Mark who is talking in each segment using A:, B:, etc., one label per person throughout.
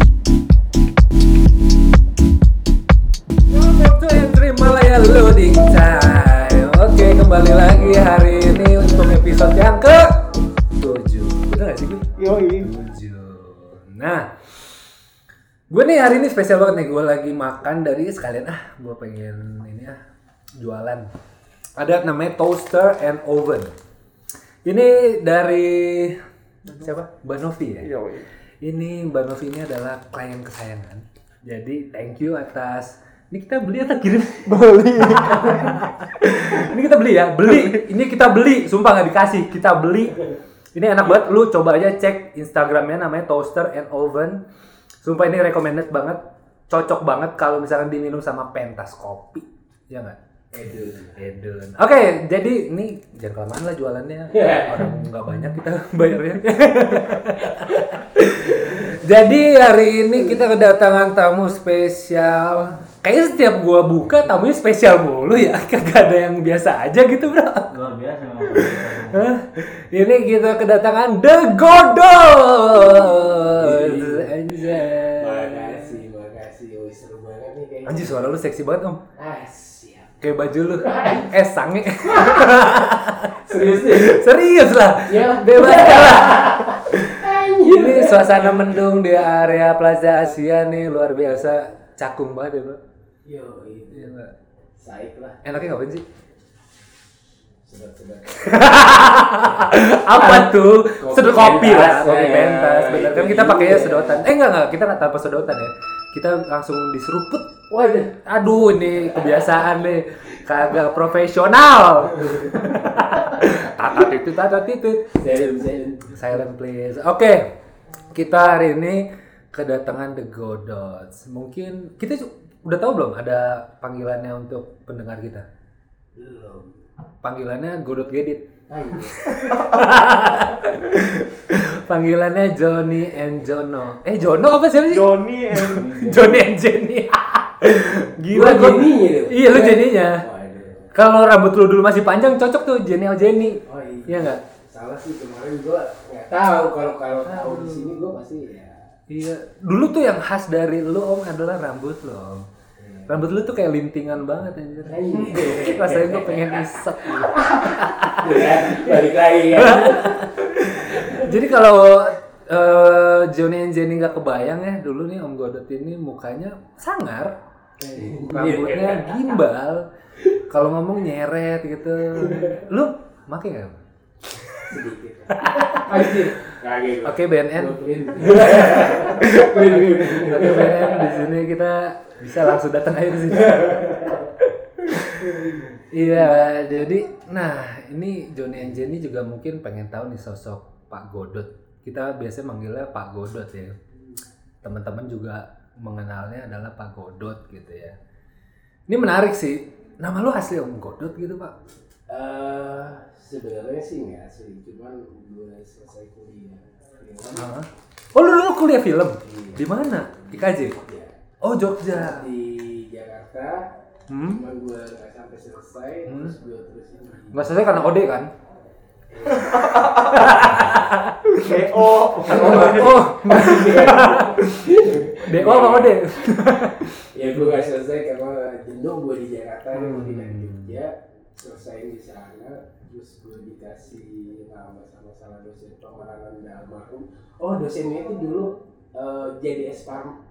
A: ya, episode yang ke 7 Bener gak sih gue?
B: Yoi.
A: 7 Nah Gue nih hari ini spesial banget nih Gue lagi makan dari sekalian ah Gue pengen ini ah Jualan Ada namanya Toaster and Oven Ini dari Siapa? Mbak Novi ya?
B: Yoi.
A: Ini Mbak Novi ini adalah klien kesayangan Jadi thank you atas Ini kita beli atau kirim?
B: Beli.
A: ini kita beli ya, beli. Ini kita beli, sumpah nggak dikasih, kita beli. Ini enak banget, lu coba aja cek Instagramnya namanya Toaster and Oven. Sumpah ini recommended banget, cocok banget kalau misalkan diminum sama pentas kopi, ya nggak? Edun. Edun. Oke, jadi ini jangan kelamaan lah jualannya. Orang nggak banyak kita bayarnya. jadi hari ini kita kedatangan tamu spesial. Kayaknya setiap gua buka tamunya spesial mulu ya. Kagak ada yang biasa aja gitu, Bro.
C: luar biasa memang.
A: Hah? Ini kita kedatangan The Godot. Anjay.
D: Makasih, makasih. Wih, seru banget nih kayaknya.
A: Anjir suara lu seksi banget om.
D: Ah, siap.
A: Kayak baju lu. Eh sange.
D: Serius nih?
A: Serius lah.
D: Ya.
A: Bebas lah.
D: Anjir.
A: Ini suasana mendung di area Plaza Asia nih luar biasa. Cakung banget ya bro.
D: Yo, itu.
A: Iya, Mbak.
D: Saik lah.
A: Enaknya ngapain sih?
D: Sedap-sedap.
A: Apa tuh?
D: Kopi
A: Sedot Ah, kopi lah,
D: pentas,
A: kopi
D: ya.
A: pentas. Bener kan
D: Itu
A: kita pakainya
D: juga.
A: sedotan. Eh enggak enggak, kita enggak tanpa sedotan ya. Kita langsung diseruput
D: Waduh.
A: Aduh ini kebiasaan nih kagak profesional. tatat itu tatat itu.
D: Serum, serum.
A: Silent please. Oke. Kita hari ini kedatangan The Godots. Mungkin kita ju- udah tahu belum ada panggilannya untuk pendengar kita?
D: Belum. Ah, iya.
A: Panggilannya Godot Gedit.
D: Anjir.
A: Panggilannya Johnny and Jono. Eh Jono apa sih?
B: Joni and
A: Johnny and Jenny. Gila
D: Gua
A: gua-
D: Jenny-nya deh.
A: Iya lu Jenny-nya.
D: Waduh.
A: Kalau rambut lu dulu masih panjang cocok tuh Jenny atau Jenny.
D: Oh iya.
A: Iya enggak?
D: Salah sih kemarin gua nggak tahu kalau kalau tahu di sini gua pasti ya.
A: Iya. Dulu tuh yang khas dari lu Om adalah rambut lo. Om. Rambut lu tuh kayak lintingan banget anjir.
D: Anjir.
A: Rasanya gue pengen isek. gitu.
D: Ya, Balik lagi ya.
A: Jadi kalau eh, Johnny and Jenny nggak kebayang ya dulu nih Om Godot ini mukanya sangar, rambutnya kan gimbal, kalau ngomong nyeret gitu. Lu make nggak?
D: Sedikit. Anjir. Kaget gua.
A: Oke BNN.
D: Gua print.
A: Oke BNN di sini kita bisa langsung datang aja di sini. Iya, jadi nah ini Johnny and Jenny juga mungkin pengen tahu nih sosok Pak Godot. Kita biasanya manggilnya Pak Godot ya. Teman-teman juga mengenalnya adalah Pak Godot gitu ya. Ini menarik sih. Nama lu asli Om Godot gitu, Pak?
D: Eh, sebenarnya sih nggak sih, cuman gue selesai kuliah. Film,
A: Hah? Oh, lu dulu kuliah film?
D: Iya.
A: Di mana? IKJ?
D: ya.
A: Oh, Jogja.
D: Di Jakarta,
A: Hmm?
D: cuman gue nggak sampai selesai, terus gue terusin di
A: Nggak selesai karena OD kan?
B: KO.
A: Oh, DO apa OD?
D: ya gue nggak selesai karena jenuh gue di Jakarta,
A: Hmm.
D: gue pindah ke Jogja, selesai di sana, terus gue dikasih nama sama salah dosen pemerangan dan almarhum. Oh dosennya itu dulu eh, jadi S Parm,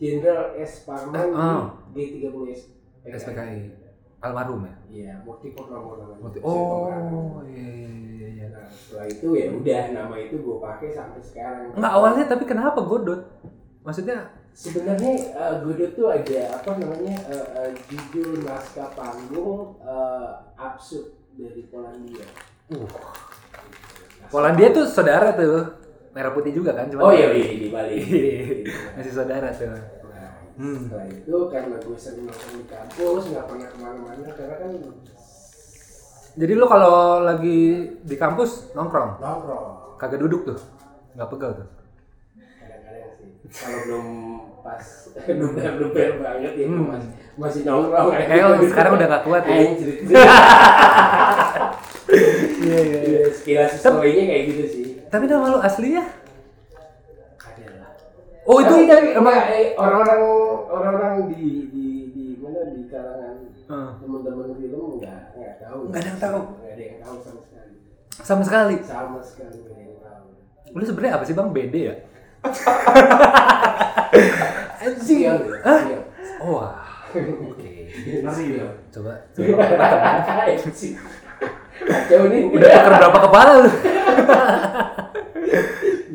D: Jenderal S Parman
A: Ah.
D: di G30 S
A: SPKI almarhum ya.
D: Iya, Mukti Purnomo namanya.
A: Waktu-
D: Saya
A: Oh, iya iya iya.
D: Nah, setelah itu ya udah nama itu gue pakai sampai sekarang.
A: Enggak awalnya tapi kenapa Godot? Maksudnya
D: Sebenarnya eh, Godot tuh ada apa namanya eh, eh, judul naskah panggung eh, absurd dari Polandia.
A: uh,
D: Naskah-
A: Polandia tuh saudara tuh. Merah putih juga kan cuman
D: Oh iya iya di Bali.
A: Masih saudara tuh.
D: Nah,
A: Hmm.
D: Setelah itu karena gue sering nonton di kampus nggak pernah kemana-mana karena kan
A: Jadi lu kalau lagi di kampus nongkrong,
D: nongkrong.
A: kagak duduk tuh. Enggak pegel tuh.
D: kadang-kadang sih kalau belum pas duper duper banget ya masih masih nongkrong
A: Kayak lo Hmm. Eh, oh, sekarang udah nggak kuat ya.
D: Anjir.
A: Iya iya
D: Iya, sekilas story-nya kayak gitu sih
A: Tapi nama lu ya? aslinya?
D: ada lah
A: Oh, itu-
D: tapi, tapi emang eh, orang-orang orang-orang di di di mana di kalangan
A: Hmm.
D: teman-teman film nggak nggak tahu
A: Nggak ada yang tahu.
D: nggak ada yang tahu sama sekali
A: Sama sekali.
D: sama sekali nggak ada yang tahu
A: Lu sebenarnya apa sih Bang? BD ya? Anjing.
D: sial ya
A: Hah?
D: sial
A: Oh, wah. Oke.
B: Masih ya.
A: Coba.
D: Anjing. Kacau nih Iya.
A: Udah tuker berapa kepala lu?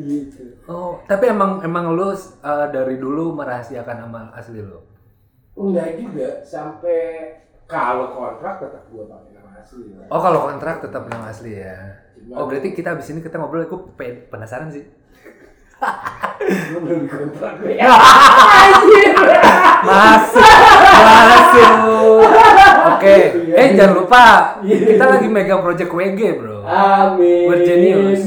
D: gitu
A: Oh, tapi emang emang lu uh, dari dulu merahasiakan amal asli lu.
D: enggak juga sampai kalau kontrak tetap gua pakai nama asli lah.
A: Oh, kalau kontrak tetap nama asli ya. Oh,
D: Cuma-
A: berarti kita abis ini kita ngobrol, aku pe- penasaran sih.
D: Lu belum kontrak gue ya anjir
A: Masuk, masuk. Oke, eh
D: Iya.
A: jangan lupa kita lagi megang project WG bro.
D: amin
A: We're genius.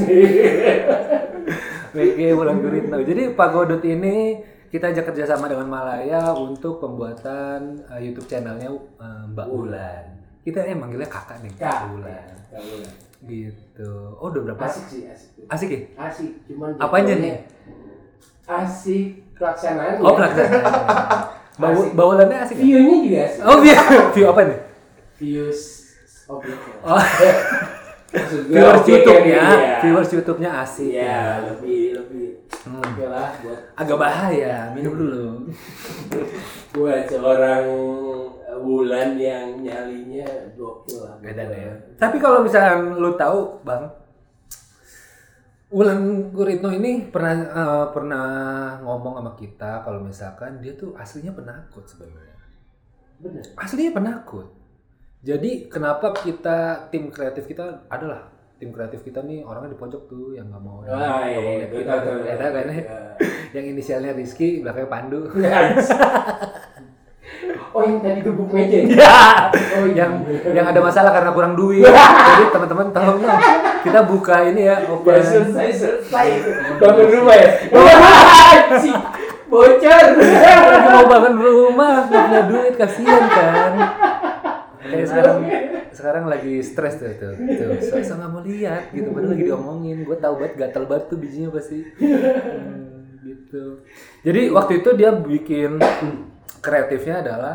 A: WG Wulan Guritno. Jadi Pagodot ini kita ajak kerjasama dengan Malaya untuk pembuatan eh, YouTube channelnya eh, Mbak Wulan. Kita eh manggilnya kakak nih, Kak
D: Kak,
A: Wulan.
D: Kak Wulan.
A: Gitu. Oh udah berapa?
D: asik sih asik tuh.
A: Asik ya?
D: asik cuman
A: Apanya nih?
D: jatuhnya asik pelaksanaan
A: Oh pelaksanaan. Mbak Wu-
D: Asik.
A: Mbak Wulannya asik ya?
D: view nya juga asik
A: Oh view, view apa nih?
D: views objek
A: Oh.
D: Maksud gua
A: Viewers
D: objeknya
A: YouTube-nya,
D: nih, iya.
A: viewers YouTube-nya asik
D: Iya,
A: ya.
D: lebih lebih
A: Hmm.
D: oke lah buat
A: agak bahaya minum dulu
D: buat seorang eh, bulan yang nyalinya gokil lah.
A: beda ya tapi kalau misalkan lu tahu bang Ulan Guritno ini pernah eh, pernah ngomong sama kita kalau misalkan dia tuh aslinya penakut sebenarnya
D: Bener.
A: aslinya penakut jadi kenapa kita tim kreatif kita adalah tim kreatif kita nih orangnya di pojok tuh yang nggak mau nggak
D: Wah, iya,
A: mau
D: iya,
A: lihat
D: betul,
A: kita
D: betul,
A: Ya,
D: betul.
A: kan? yang inisialnya Rizky belakangnya Pandu
D: Iya. Oh yang tadi gebuk meja. ya? Oh iya.
A: yang yang ada masalah karena kurang duit. Jadi teman-teman tolong dong kita buka ini ya
D: Udah
A: open.
D: selesai selesai bangun rumah ya. Anjing. Bocor.
A: Lagi mau bangun rumah nggak punya duit kasihan kan. Kayak sekarang sekarang lagi stres tuh tuh. tuh. Soalnya nggak mau lihat gitu padahal lagi diomongin. Gue tahu banget gatal banget tuh bijinya pasti. Hmm, gitu. Jadi waktu itu dia bikin kreatifnya adalah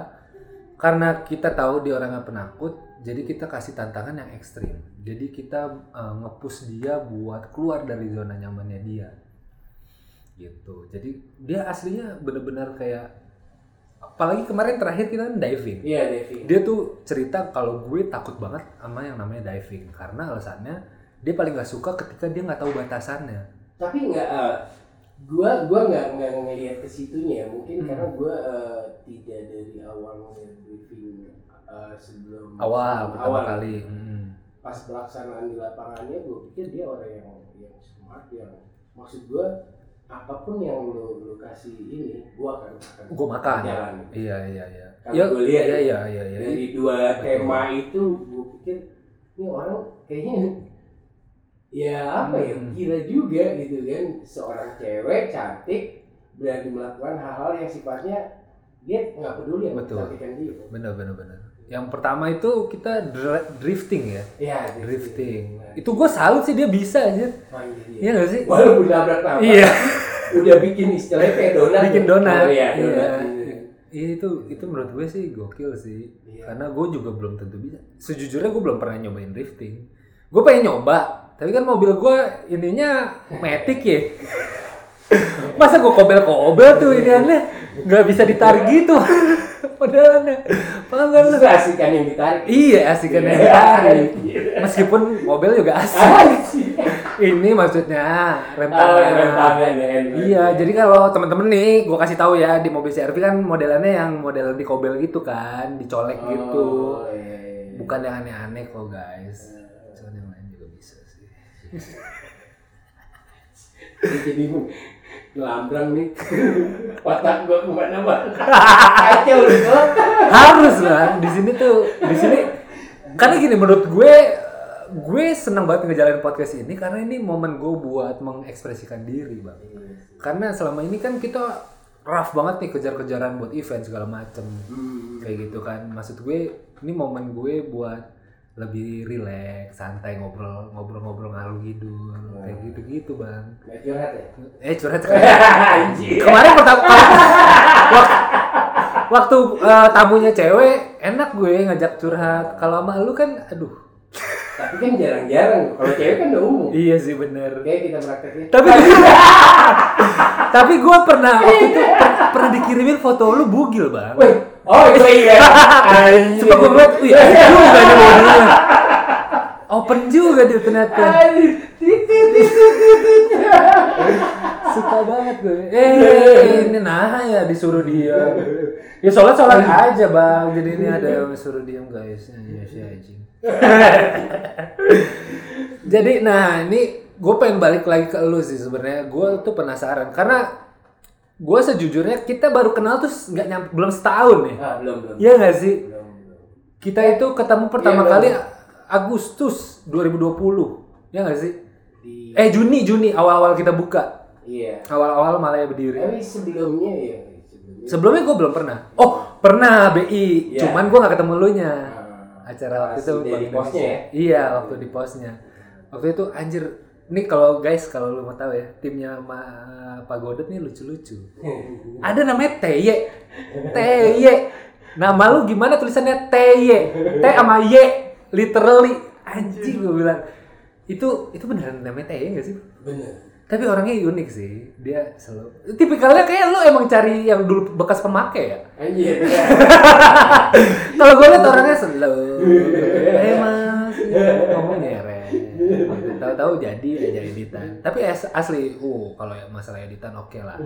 A: karena kita tahu dia orangnya penakut, jadi kita kasih tantangan yang ekstrim. Jadi kita eh, nge-push dia buat keluar dari zona nyamannya dia. Gitu. Jadi dia aslinya bener-bener kayak apalagi kemarin terakhir kita kan diving
D: Iya Devi.
A: dia tuh cerita kalau gue takut banget sama yang namanya diving karena alasannya dia paling nggak suka ketika dia nggak tahu batasannya
D: Tapi nggak. eh, gua gua nggak nggak ngelihat ke situnya ya. mungkin
A: Hmm.
D: karena gua eh, tidak dari awal ngelihat briefing eh, sebelum
A: awal pertama
D: awal.
A: kali Mm.
D: pas pelaksanaan di lapangannya gue pikir dia orang yang yang smart yang maksud gue apapun yang lu lu kasih ini gue akan akan
A: gue makan
D: jalan
A: iya iya iya
D: Kalau
A: Ya,
D: gue lihat
A: iya
D: ya.
A: iya iya iya
D: dari dua
A: Betul.
D: tema itu gue pikir ini orang kayaknya ya apa ya
A: Hmm.
D: gila juga gitu kan seorang cewek cantik berani melakukan hal-hal yang sifatnya dia nggak peduli yang
A: Betul.
D: kecantikan dia
A: bener bener bener yang pertama itu kita dr- drifting ya
D: ya
A: drifting
D: Nah,
A: itu gue salut sih dia bisa aja
D: main dia.
A: iya nggak sih
D: walaupun nabrak nabrak
A: iya
D: udah bikin istilahnya kayak donat
A: bikin
D: ya?
A: donat
D: oh, iya,
A: Iya.
D: donat
A: Iya, itu itu menurut gue sih gokil sih
D: Iya.
A: karena gue juga belum tentu bisa sejujurnya gue belum pernah nyobain drifting gue pengen nyoba tapi kan mobil gue ininya matic ya masa gue kobel-kobel tuh ini aneh nggak bisa
D: Iya.
A: ditarik gitu padahal aneh paham kan lu?
D: Terus asikan yang ditarik
A: iya asik kan yang
D: Iya.
A: ditarik
D: Iya.
A: meskipun mobil juga
D: Ah,
A: asik
D: Asik.
A: ini maksudnya rem
D: Oh, yang rem
A: tangan
D: tangan, ya, rem tangan.
A: Iya, jadi kalau temen-temen nih, gue kasih tahu ya di mobil CRV kan modelannya yang model dikobel gitu kan, dicolek
D: Oh,
A: gitu,
D: iya, iya.
A: bukan yang aneh-aneh kok guys. Cuman yang lain juga bisa sih.
D: Dia iya. jadi ngelambrang nih otak gua kemana mana kacau lu gua.
A: Harus lah, di sini tuh, di sini karena gini menurut gue, gue seneng banget ngejalanin podcast ini karena ini momen gue buat mengekspresikan diri bang. Karena selama ini kan kita rough banget nih kejar-kejaran buat event segala macem.
D: Hmm.
A: kayak gitu kan maksud gue ini momen gue buat lebih rileks santai ngobrol ngobrol ngobrol ngalur gitu kayak gitu gitu bang
D: Nggak curhat ya?
A: eh curhat sekali.
D: Anjir.
A: kemarin pertama waktu, waktu eh, tamunya cewek enak gue ngajak curhat kalau sama lu kan aduh
D: tapi kan jarang-jarang kalau cewek kan udah umum
A: Iya sih bener.
D: oke kita prakteknya
A: Tapi tapi gue pernah waktu itu per- pernah dikirimin foto lu bugil bang.
D: Wih, oh itu iya
A: Suka gue ngeliat, wih, lu gak ada mobilnya. Open juga dia ternyata.
D: Anjir. Titit, titit, titit.
A: Suka banget gue. Eh, ini nah ya disuruh dia. Ya sholat sholat aja bang. Jadi ini ada yang disuruh diam guys. Iya si anjing. Jadi nah ini gue pengen balik lagi ke lu sih sebenarnya. Gue tuh penasaran karena gue sejujurnya kita baru kenal tuh nggak nyampe belum setahun nih.
D: ah belum belum
A: Iya nggak sih?
D: belum belum.
A: Kita itu ketemu pertama
D: Iya,
A: kali Agustus 2020. Ya nggak sih?
D: di
A: Eh Juni Juni awal-awal kita buka.
D: iya
A: Awal-awal Malaya berdiri.
D: tapi sebelumnya ya sebelumnya
A: Sebelumnya gue belum pernah. Oh, pernah BI.
D: Iya.
A: Cuman gue nggak ketemu lu nya.
D: Ah,
A: Acara waktu itu
D: masih dari
A: Bank
D: posnya
A: Indonesia.
D: ya
A: Iya, waktu di posnya. Waktu itu anjir ini kalau guys kalau lu mau tahu ya, timnya Ma- Pak Godet nih lucu-lucu. Ada namanya TY. TY. Nama lu gimana tulisannya TY? T sama Y literally anjing gue bilang. Itu itu beneran namanya TY gak sih?
D: bener
A: Tapi orangnya unik sih. Dia selalu tipikalnya kayak lu emang cari yang dulu bekas pemakai ya.
D: anjir
A: Kalau gue liat orangnya slow. Eh mas, ngomong nyeret. Gitu. Tahu-tahu jadi aja editan. Tapi as- asli, uh kalau masalah editan oke lah.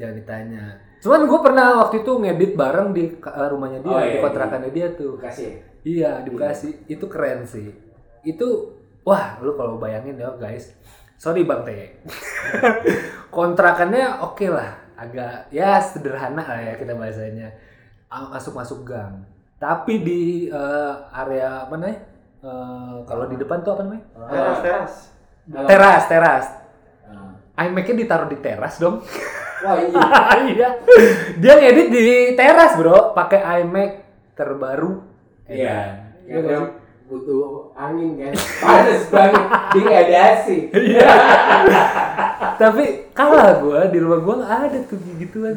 A: Jangan ditanya. Cuman gue pernah waktu itu ngedit bareng di ka- rumahnya dia,
D: Oh, iya,
A: di kontrakannya dia tuh.
D: kasih ya.
A: Iya, di Bekasi. Itu keren sih. Itu wah, lu kalau bayangin ya guys. Sorry Bang T. Kontrakannya oke lah, agak ya sederhana lah ya kita bahasanya. A- Masuk-masuk gang. Tapi di eh, area apa namanya? Eh, kalau di depan tuh apa namanya?
B: Teras, teras.
A: Teras, teras.
D: Ah.
A: iMac-nya ditaruh di teras dong.
D: wah kan? anjir
A: iya. Dia ngedit di teras, Bro, pakai iMac terbaru.
D: Iya.
A: Iya,
D: Karena
A: kan?
D: butuh angin kan. Panas banget. Dia nggak ada AC.
A: Iya. Tapi kalah gua di rumah gua nggak ada tuh gituan.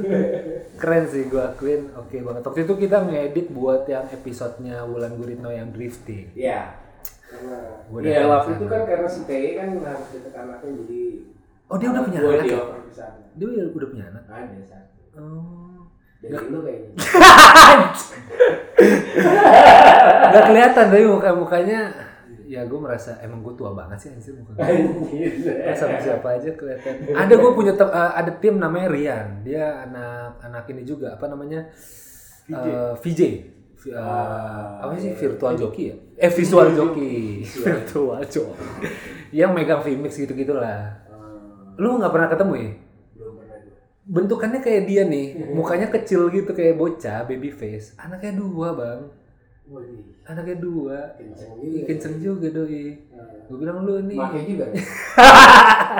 A: Keren sih gua akuin, oke banget. Waktu itu kita ngedit buat yang episodenya Wulan Guritno yang drifting.
D: Iya.
A: Gua
D: Iya
A: datang
D: waktu
A: sana.
D: itu kan karena si TE kan harus deket anaknya jadi.
A: Oh dia udah punya
D: Gua
A: anak?
D: di
A: ya?
D: over ke sana.
A: Dia udah udah punya anak.
D: Ada satu.
A: Oh.
D: Dari lu kayaknya.
A: Gak kelihatan tapi muka mukanya. Ya gua merasa emang gua tua banget sih anjir muka. gua.
D: Anjir. Eh,
A: sama siapa aja kelihatan.
D: Iya.
A: Ada gue punya tem- eh, ada tim namanya Rian. Dia anak anak ini juga apa namanya? Eh, VJ. Vi- eh,
D: Ah,
A: apa sih
D: iya.
A: virtual joki ya? Eh visual joki. virtual joki. Yang megang Vmix gitu-gitulah.
D: Ah,
A: Lu nggak pernah ketemu ya?
D: Belum pernah gua.
A: Bentukannya kayak dia
D: Iya.
A: nih, mukanya kecil gitu kayak bocah, baby face. Anaknya dua, Bang.
D: Waduh.
A: Anaknya dua.
D: Kenceng
A: Ih,
D: juga.
A: Kenceng juga doi.
D: Ah.
A: Gue bilang lu nih
D: Pakai juga. kan?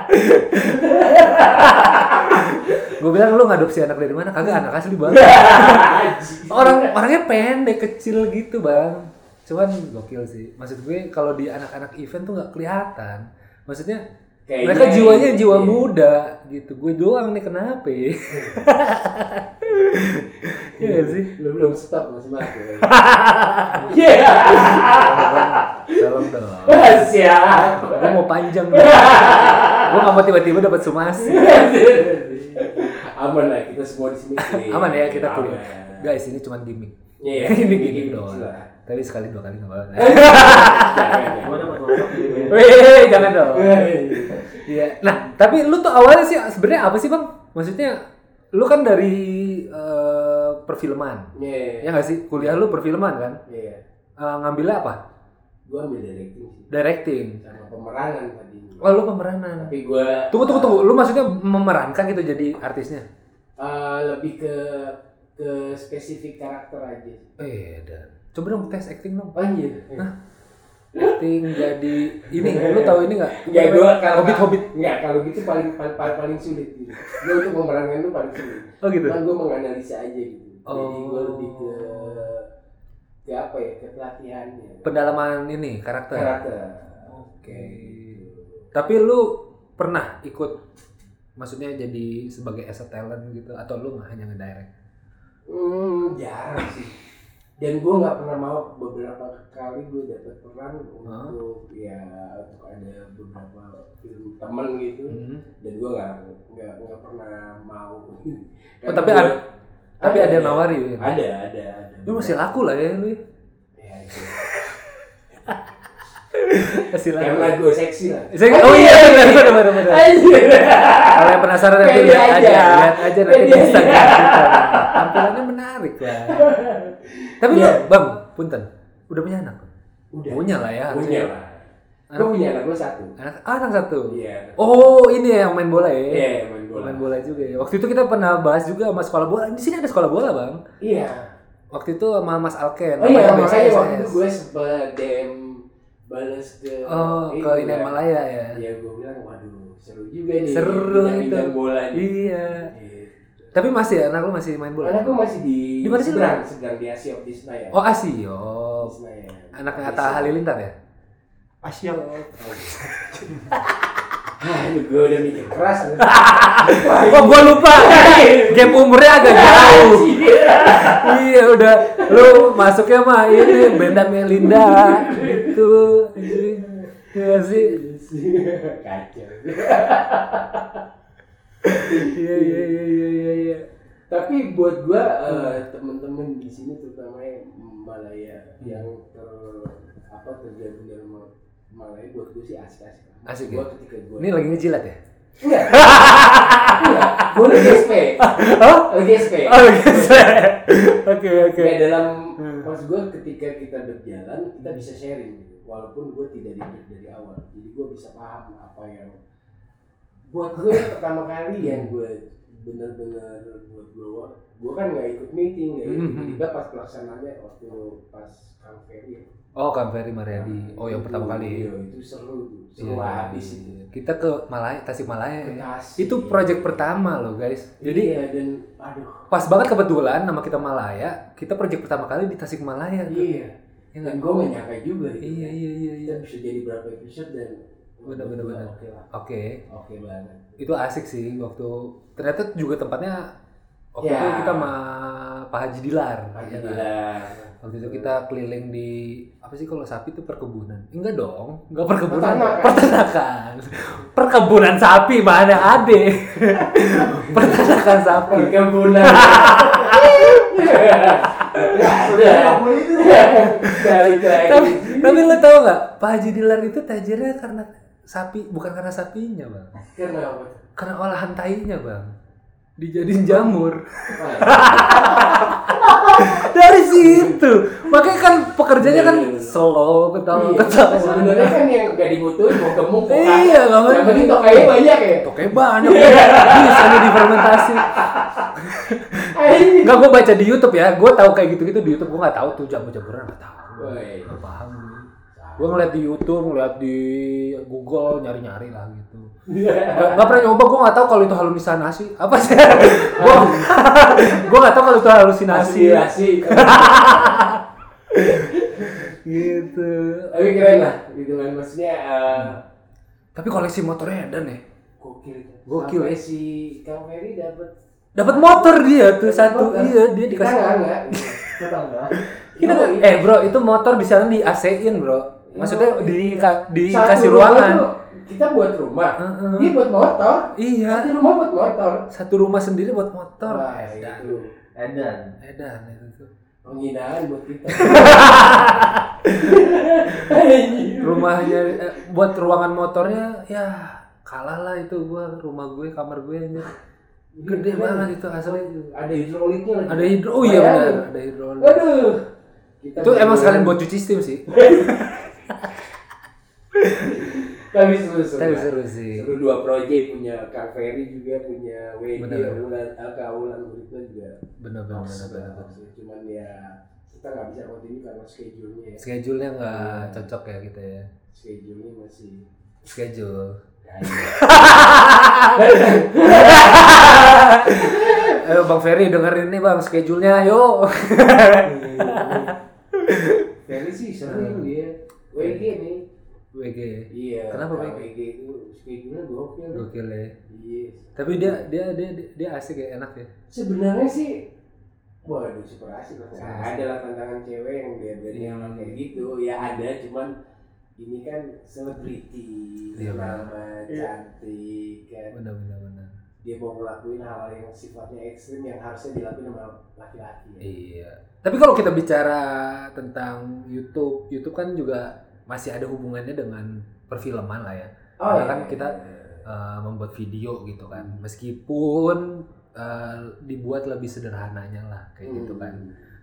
A: gue bilang lu ngadopsi anak dari mana kagak anak asli bang orang orangnya pendek kecil gitu bang cuman gokil sih maksud gue kalau di anak-anak event tuh nggak kelihatan maksudnya
D: Kayaknya
A: mereka jiwanya
D: iya.
A: jiwa muda gitu gue doang nih kenapa ya Iya nggak sih
D: Lu belum stop masih mati. Iya.
A: tolong dong ya.
D: Siap.
A: gue mau panjang gue nggak mau tiba-tiba dapat sumasi
D: aman lah kita semua di sini clear.
A: aman ya kita
D: Aman.
A: kuliah guys ini cuman gimmick
D: Iya,
A: ini
D: gimmick,
A: gimmick
D: gimmick
A: doang
D: lah.
A: tapi sekali dua kali nggak apa-apa
D: Jangan,
B: Gua dapat WhatsApp dari dia.
A: Wih, jangan dong.
D: jangan.
A: Iya. Nah, tapi lu tuh awalnya sih sebenarnya apa sih, Bang? Maksudnya lu kan dari eh, perfilman. Ya
D: Iya,
A: nggak sih? Kuliah lu perfilman kan?
D: iya
A: Eh, ngambilnya apa?
D: gue ambil directing sih
A: Directing.
D: sama pemerangan tadi
A: Oh, lu pemeranan.
D: tapi gue
A: Tunggu, tunggu, tunggu. Lu maksudnya memerankan gitu jadi artisnya?
D: eh, lebih ke ke spesifik karakter aja
A: Eh, dan. Coba dong tes acting dong.
D: anjir
A: Acting jadi ini. Lu tahu ini nggak?
D: Ya gua kalau
A: Hobbit Hobbit.
D: Enggak, kalau gitu paling paling paling, paling sulit gitu. Gua untuk pemerangan itu paling sulit.
A: Oh gitu.
D: Cuman gue menganalisa aja gitu. Jadi gue
A: Oh.
D: lebih ke ke apa ya? Ke pelatihannya.
A: Pendalaman ini karakter.
D: Karakter. Gitu.
A: Oke. Tapi lu pernah ikut maksudnya jadi sebagai as a talent gitu atau lu hanya ngedirect?
D: Hmm, jarang sih. dan gue nggak pernah mau beberapa kali gue dapet peran untuk ya untuk ada beberapa film temen gitu
A: Hmm.
D: dan gue nggak nggak nggak pernah mau
A: Oh, tapi
D: Karena
A: ada-
D: gua-
A: Tapi ada yang nawari. Win.
D: ya. ada ada ada
A: Lu masih laku lah ya lu.
D: Ya, itu.
A: Masih laku.
D: karena gue seksi lah
A: Saya- Oh iya benar benar benar, benar.
D: Anjir.
A: Kalau yang penasaran nanti
D: Pede
A: lihat aja,
D: aja.
A: lihat aja nanti
D: Pede
A: di
D: aja.
A: Instagram kita. Tampilannya menarik lah. Tapi lu,
D: Iya.
A: Bang, punten, udah punya anak?
D: udah
A: Punya lah ya.
D: punya
A: harusnya.
D: lah gue punya anak gue satu
A: Anak, ah, anak satu.
D: iya
A: Oh, ini ya yang main bola ya.
D: iya main bola
A: Main bola juga ya. Waktu itu kita pernah bahas juga sama sekolah bola. Di sini ada sekolah bola, Bang.
D: iya
A: Waktu itu sama Mas Alken.
D: oh iya
A: namanya
D: makanya waktu itu
A: BSS.
D: gue sempet DM balas ke
A: Oh,
D: ini
A: ke
D: gua
A: Inen
D: bilang,
A: Malaya ya.
D: ya gue bilang waduh seru juga nih
A: Seru itu.
D: bidang bola nih
A: Iya.
D: Gitu.
A: Tapi masih ya, anak lu masih main bola?
D: Karena gue masih di
A: Di mana sih lu?
D: Seberang, Seberang di Asia di Senayan.
A: Oh, Asio.
D: Di Senayan.
A: Anaknya Atta Halilintar ya?
B: Asyik.
D: Hah, gue Oh. udah mikir keras. lu.
A: Oh, gua lupa. Gap umurnya agak jauh. iya, udah lu masuknya mah ini Benda Melinda gitu. anjing. Iya sih.
D: Kacau.
A: Iya iya iya iya iya. iya.
D: Tapi buat gue
A: Hmm.
D: temen-temen di sini terutama yang Malaya yang ter apa tergabung dalam Mal- Malaya buat gue sih asik-asik.
A: Asik ya?
D: Gue ketika gue
A: Ini lagi ngejilat ya?
D: enggak. Enggak. Gue lagi SP.
A: Hah?
D: Lagi SP.
A: Oh, gitu. Oke oke.
D: Kayak dalam
A: Hmm.
D: maksud gue ketika kita berjalan kita bisa sharing gitu. walaupun gue tidak didik dari awal jadi gue bisa paham apa yang buat gue pertama
A: Hmm.
D: kali yang gue bener-bener buat gue gue kan nggak ikut meeting ya
A: Mhm.
D: tiba pas pelaksanaannya waktu pas Kang Ferry ya.
A: Oh, Kang Ferry Mariadi. Oh, yang
D: Itu-
A: pertama kali.
D: iya, itu seru tuh
A: Iya.
D: seru habis itu
A: Kita ke Malaya, Tasik Malaya. ya.
D: Bekasi.
A: Itu project pertama loh, guys. Jadi
D: iya dan aduh
A: pas banget kebetulan nama kita Malaya, kita project pertama kali di Tasikmalaya. tuh.
D: iya
A: Iya
D: dan
A: nggak?
D: gue nggak nyangka juga gitu
A: Iya iya iya iya.
D: kita bisa jadi berapa episode dan
A: Bener, bener, bener.
D: oke lah
A: Oke,
D: oke banget
A: itu asik sih waktu ternyata juga tempatnya waktu
D: Ya.
A: itu kita sama Iya. Pak Haji Dilar. ya kan? Waktu itu kita keliling di apa sih kalau sapi itu perkebunan? Enggak dong, enggak perkebunan.
D: Peternakan.
A: Peternakan. Perkebunan sapi mana ade. Peternakan sapi.
D: perkebunan sudah balik
A: tapi,
D: lagi
A: tapi lo tau nggak Pak Haji Dilar itu tajirnya karena sapi bukan karena sapinya bang
D: kenapa
A: karena olahan tainya bang dijadiin jamur dari situ makanya kan pekerjanya kan slow ketawa
D: Iya,
A: ketawa
D: sebenarnya kan yang gak dibutuhin mau gemuk mau
A: Iya,
D: kaya.
A: nggak
D: yang
A: penting.
D: penting tokainya banyak ya
A: Oke banyak bisa nih difermentasi.
D: Anjing.
A: Enggak gue baca di YouTube ya, gue tahu kayak gitu-gitu di YouTube gue nggak tahu tuh jamur-jamuran nggak tahu.
D: Woi.
A: Nggak paham gue. Gue ngeliat di YouTube, ngeliat di Google nyari-nyari lah gitu. Gak, gak pernah nyoba, gue gak tau kalau itu halusinasi Apa sih? gue gue gak tau kalau itu halusinasi
D: Aspirasi.
A: Gitu
D: tapi keren lah gitu kan maksudnya eh,
A: Tapi koleksi motornya Edan ya
D: gokil
A: Gokil,
D: Sampai
A: ya.
D: si Kang Ferry dapat
A: Dapat motor dia tuh satu Iya dia
D: kita
A: dikasih
D: nggak Oh, iya. nggak kita nggak
A: Kita
D: Kita-
A: Eh bro itu motor di sana di AC-in bro Maksudnya di, ka-
D: Oh, iya. Satu
A: dikasih
D: rumah
A: ruangan
D: tuh kita buat rumah
A: Heeh.
D: dia buat motor
A: Iya
D: satu rumah buat motor
A: Satu rumah sendiri buat motor
D: Wah, ya
A: Edan
D: iya. itu
B: Edan.
A: Edan itu tuh.
D: penghinaan buat kita
A: Rumahnya eh, Buat ruangan motornya Ya kalah lah itu gua rumah gue kamar gue aja gede
D: Iya.
A: banget itu asli
D: ada hidroliknya lagi.
A: ada hidro oh iya
D: Bayangin.
A: benar ada hidrolik
D: waduh Kita
A: itu emang
D: berdua.
A: sekalian buat cuci steam sih
D: tapi seru seru
A: tapi seru sih
D: Seru dua proyek punya Kang Ferry juga punya WD
A: Benar.
D: Wulan Kaulan Guritno juga
A: bener bener bener bener
D: cuman ya kita nggak bisa continue karena schedule-nya ya.
A: schedule nya nggak cocok ya kita ya
D: schedule-nya masih
A: schedule Ayo Eh, Bang Ferry dengerin nih Bang schedule-nya yo.
D: Ferry sih sering dia WG nih
A: WG.
D: iya
A: Iya. Kenapa
D: kalau
A: WG?
D: WG itu schedule-nya gokil
A: Gokil ya.
D: iya
A: Tapi dia dia dia dia asik ya, enak ya.
D: sebenarnya sih Waduh, super asik lah.
A: Super
D: Nah,
A: asik.
D: ada lah tantangan cewek yang dia berani
A: Hmm.
D: ngelawan kayak gitu. Ya ada, cuman ini kan selebriti,
A: Iya,
D: lama,
B: Iya.
D: cantik, kan.
A: benar benar benar
D: Dia mau ngelakuin hal yang sifatnya ekstrim yang harusnya dilakuin sama laki-laki. Ya.
A: iya tapi kalau kita bicara tentang YouTube YouTube kan juga masih ada hubungannya dengan perfilman lah ya
D: Oh,
A: Karena
D: iya.
A: kan kita- eh, membuat video gitu kan meskipun eh, dibuat lebih sederhananya lah kayak
D: Hmm.
A: gitu kan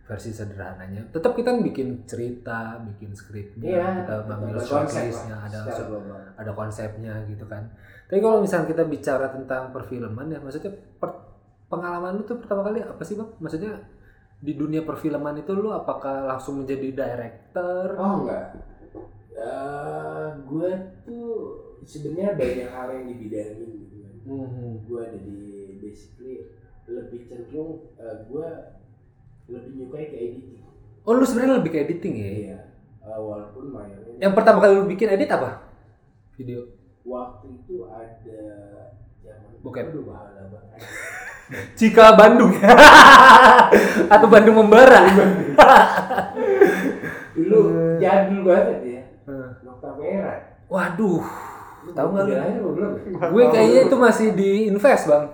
A: versi sederhananya tetap kita bikin cerita bikin skripnya
D: Iya,
A: kita ngambil
D: ada konsep lah,
A: shortlistnya ada
D: secara
A: short-
D: global.
A: ada konsepnya gitu kan tapi kalau misalnya kita bicara tentang perfilman ya maksudnya per- pengalaman lu tuh pertama kali apa sih bang maksudnya di dunia perfilman itu lu apakah langsung menjadi director
D: Oh enggak. Eh, gue tuh sebenarnya banyak hal yang dibidangin gitu kan.
A: Mhm.
D: Gue ada di basically lebih cenderung eh, gue lebih nyukai ke editing.
A: oh lu sebenarnya lebih ke editing ya
D: Iya. Eh, walaupun mayoritas
A: yang pertama kali lu bikin edit apa video
D: waktu itu ada zaman
A: Bokep.
D: Aduh, bahala banget.
A: Cika Bandung atau Bandung membara
D: Dulu
A: Eh.
D: jadul banget ya.
A: Eh.
D: Nokta merah.
A: waduh
D: Lu
A: Tahu nggak lu?
D: udah lahir apa belum?
A: gue kayaknya itu masih di invest bang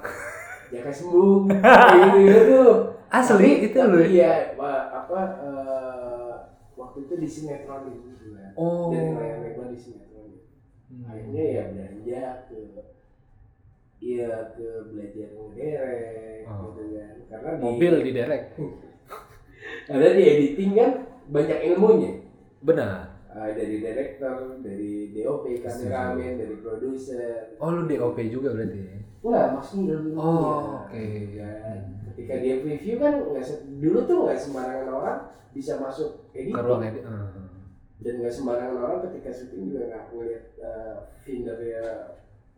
D: Jaka sembung. Kayak gitu tuh.
A: asli
D: Tapi-
A: itu lu ya?
D: tapi iya wa- apa eh, waktu itu di sinetron itu juga
A: oh Hmm.
D: dari layar lebar di sinetron akhirnya ya belanja ke ya ke belajar ngederek
A: Oh.
D: gitu kan karena di
A: mobil di derek
D: karena di editing kan banyak ilmunya
A: benar
D: Eh, dari director, dari DOP,
A: Iya,
D: kameramen, dari produser.
A: oh lu DOP juga berarti ya?
D: Enggak, maksudnya ilmu.
A: Oh, oke.
D: Ketika dia preview kan nggak se- dulu tuh nggak sembarangan orang bisa masuk editing.
A: ke ruang edit eh.
D: dan nggak sembarangan orang ketika syuting juga nggak ngeliat uh, dari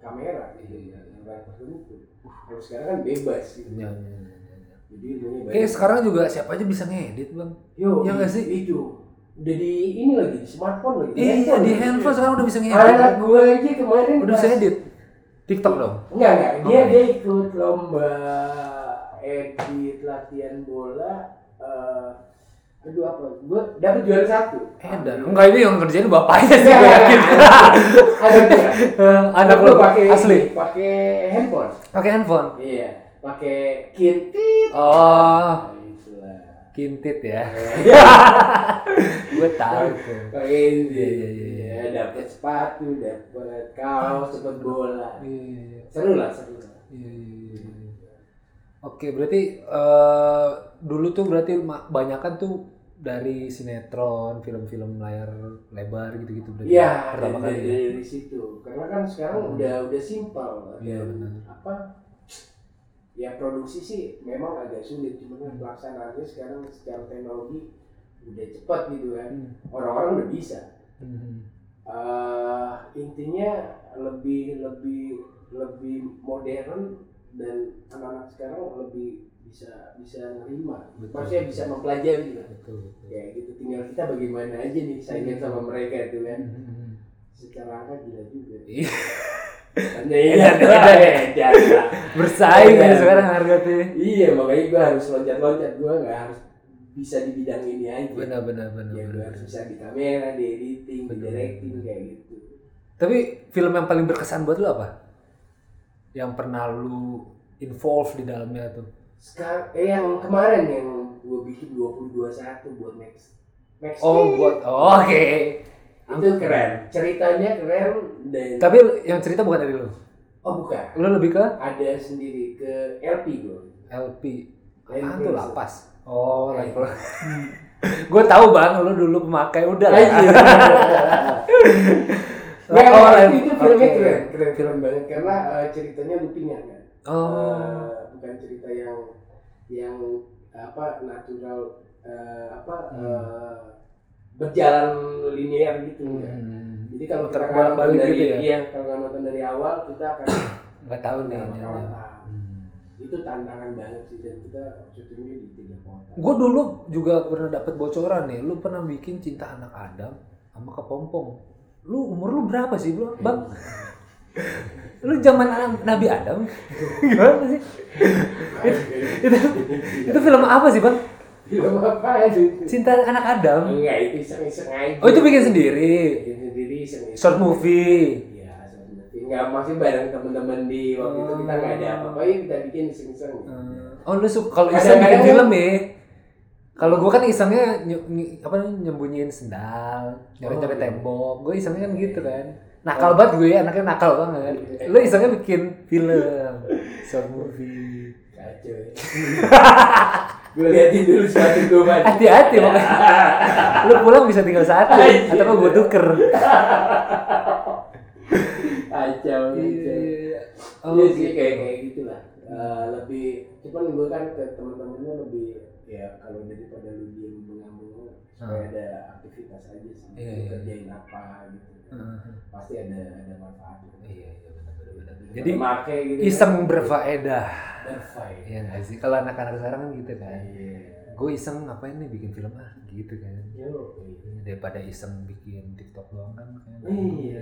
D: kamera gitu ya orang tertentu kalau sekarang kan bebas gitu
A: Iya, iya, iya, iya.
D: jadi ilmunya banyak
A: Kayak sekarang juga siapa aja bisa ngedit bang
D: yo
A: iya nggak sih?
D: itu udah di ini lagi di smartphone lagi di
A: iya di handphone sekarang udah bisa
D: anak
A: ngedit
D: gue aja kemarin
A: udah
D: pas-
A: bisa edit TikTok dong
D: enggak enggak dia
A: Apa?
D: dia ikut lomba edit latihan bola eh aduh apa gue dapet juara satu
A: Edan, Eh, enggak ini yang ngerjain bapaknya sih
D: Iya,
A: gue yakin.
D: ada dia
A: Eh, Anak
D: Lu
A: lo
D: pakai
A: asli
D: pakai handphone
A: pakai handphone.
D: iya pakai kintit
A: Oh,
D: Nah, itulah.
A: kintit ya.
D: Iya,
A: Gue tahu tuh.
D: pakai
A: Iya,
D: kintit
A: iya, iya.
D: ya dapat sepatu dapat kaos dapat bola
A: Iya, iya, iya.
D: seru lah seru lah
A: Iya, iya, iya, iya. Oke, berarti eh, dulu tuh berarti banyak kan tuh dari sinetron, film-film layar lebar gitu-gitu berarti.
D: Iya,
A: pertama kali.
D: dari, dari,
A: ya? Hmm.
D: dari situ. Karena kan sekarang udah udah simpel.
A: Iya,
D: Dan
A: benar.
D: Apa? Ya produksi sih memang agak sulit, cuman kan pelaksanaannya sekarang secara teknologi udah cepat gitu kan.
A: Hmm.
D: Orang-orang udah bisa.
A: Hmm.
D: eh intinya lebih lebih lebih modern dan anak-anak sekarang lebih bisa bisa menerima
A: Betul.
D: maksudnya bisa mempelajari lah
A: Betul, betul.
D: ya gitu tinggal kita bagaimana aja nih saingan sama mereka itu kan
A: Hmm.
D: secara angka gila juga ya,
A: Iya.
D: hanya ini ada edan lah.
A: Bersaing ya
D: Iya.
A: sekarang harga tuh.
D: iya makanya gue harus loncat-loncat gue nggak harus bisa di bidang ini aja
A: Benar, benar, benar.
D: ya gue
A: benar.
D: harus bisa di kamera di editing di
A: Benar.
D: directing kayak gitu
A: Tapi film yang paling berkesan buat lu apa? Yang pernah lu involve di dalamnya tuh.
D: sekarang eh yang kemarin yang gue bikin 2021 buat Max Max
A: Oh,
D: Steel.
A: buat oh, oke.
D: itu keren ceritanya keren dan
A: Tapi yang cerita bukan dari lu.
D: oh bukan
A: Lu lebih ke
D: ada sendiri ke LP gue
A: LP.
D: Lain
A: Apaan tuh
D: proses.
A: Ah, lapas? Oh,
D: Lain
A: lain Gue tahu bang, lu dulu pemakai udah. lah.
D: Ah, Iya,
A: Oh,
D: Nah, itu,
A: lain-
D: itu filmnya
A: oke.
D: keren, keren, keren banget karena eh, ceritanya loopingan kan.
A: Oh,
D: Eh, bukan cerita yang yang apa natural eh, apa
A: Hmm.
D: eh, berjalan linear gitu enggak.
A: hmm.
D: Jadi kalau kita
A: Terbolak
D: nonton
A: balik
D: dari
A: gitu ya?
D: iya, kalau nggak nonton dari awal kita akan
A: nggak tahu nih. Hmm.
D: nggak
A: ini.
D: bakal paham. Itu tantangan banget sih dan kita syutingnya di tiga kota.
A: Gue dulu juga pernah dapat bocoran nih. Lu pernah bikin cinta anak Adam sama kepompong. Lu umur lu berapa sih bro? Bang,
D: Iya.
A: Lu zaman Adam- Nabi Adam? Gimana sih? Itu- itu, itu film apa sih, Bang?
D: Film apa itu?
A: Cinta anak Adam.
D: Enggak, itu iseng-iseng aja.
A: Oh, itu bikin sendiri.
D: Bikin sendiri iseng-iseng.
A: Short movie.
D: Iya, short movie. Enggak, maksudnya bareng teman-teman di waktu itu kita nggak ada apa-apa, ya kita bikin iseng-iseng.
A: Oh, lu suka kalau iseng bikin
D: Kadang-kadang-
A: film ya. Kalau gua kan isengnya ny- ny- apa namanya, nyembunyiin sendal, nyeret-nyeret
D: Oh, iya.
A: tembok. Gua isengnya kan gitu kan. Nakal banget gue anaknya nakal banget. Lu isengnya bikin film, short movie.
D: Kacau ya. gue liatin dulu sepatu gue Bang.
A: Hati-hati makanya. Lu pulang bisa tinggal satu
D: Anjir.
A: atau gue tuker.
D: Kacau,
A: Iya.
D: kacau.
A: Oh,
D: Iya sih
A: gitu.
D: kayak kayak gitulah. Eh, lebih cuman gue kan ke teman-temannya lebih ya kalau daripada lu diem mengamuk supaya ada aktivitas aja sih.
A: Hmm. Iya,
D: Lu
A: iya.
D: kerjain apa gitu.
A: Heeh.
D: Pasti ada ada manfaatnya.
A: Iya, iya, benar-benar. Jadi
D: Jadi pakai gitu.
A: iseng berfaedah.
D: berfaedah.
A: Iya nggak sih? Kalau anak-anak sekarang kan gitu kan.
D: Iya.
A: Gue iseng ngapain nih bikin film ah gitu kan.
D: Yo, iya.
A: Daripada iseng bikin TikTok doang kan. kayak-
D: Iya.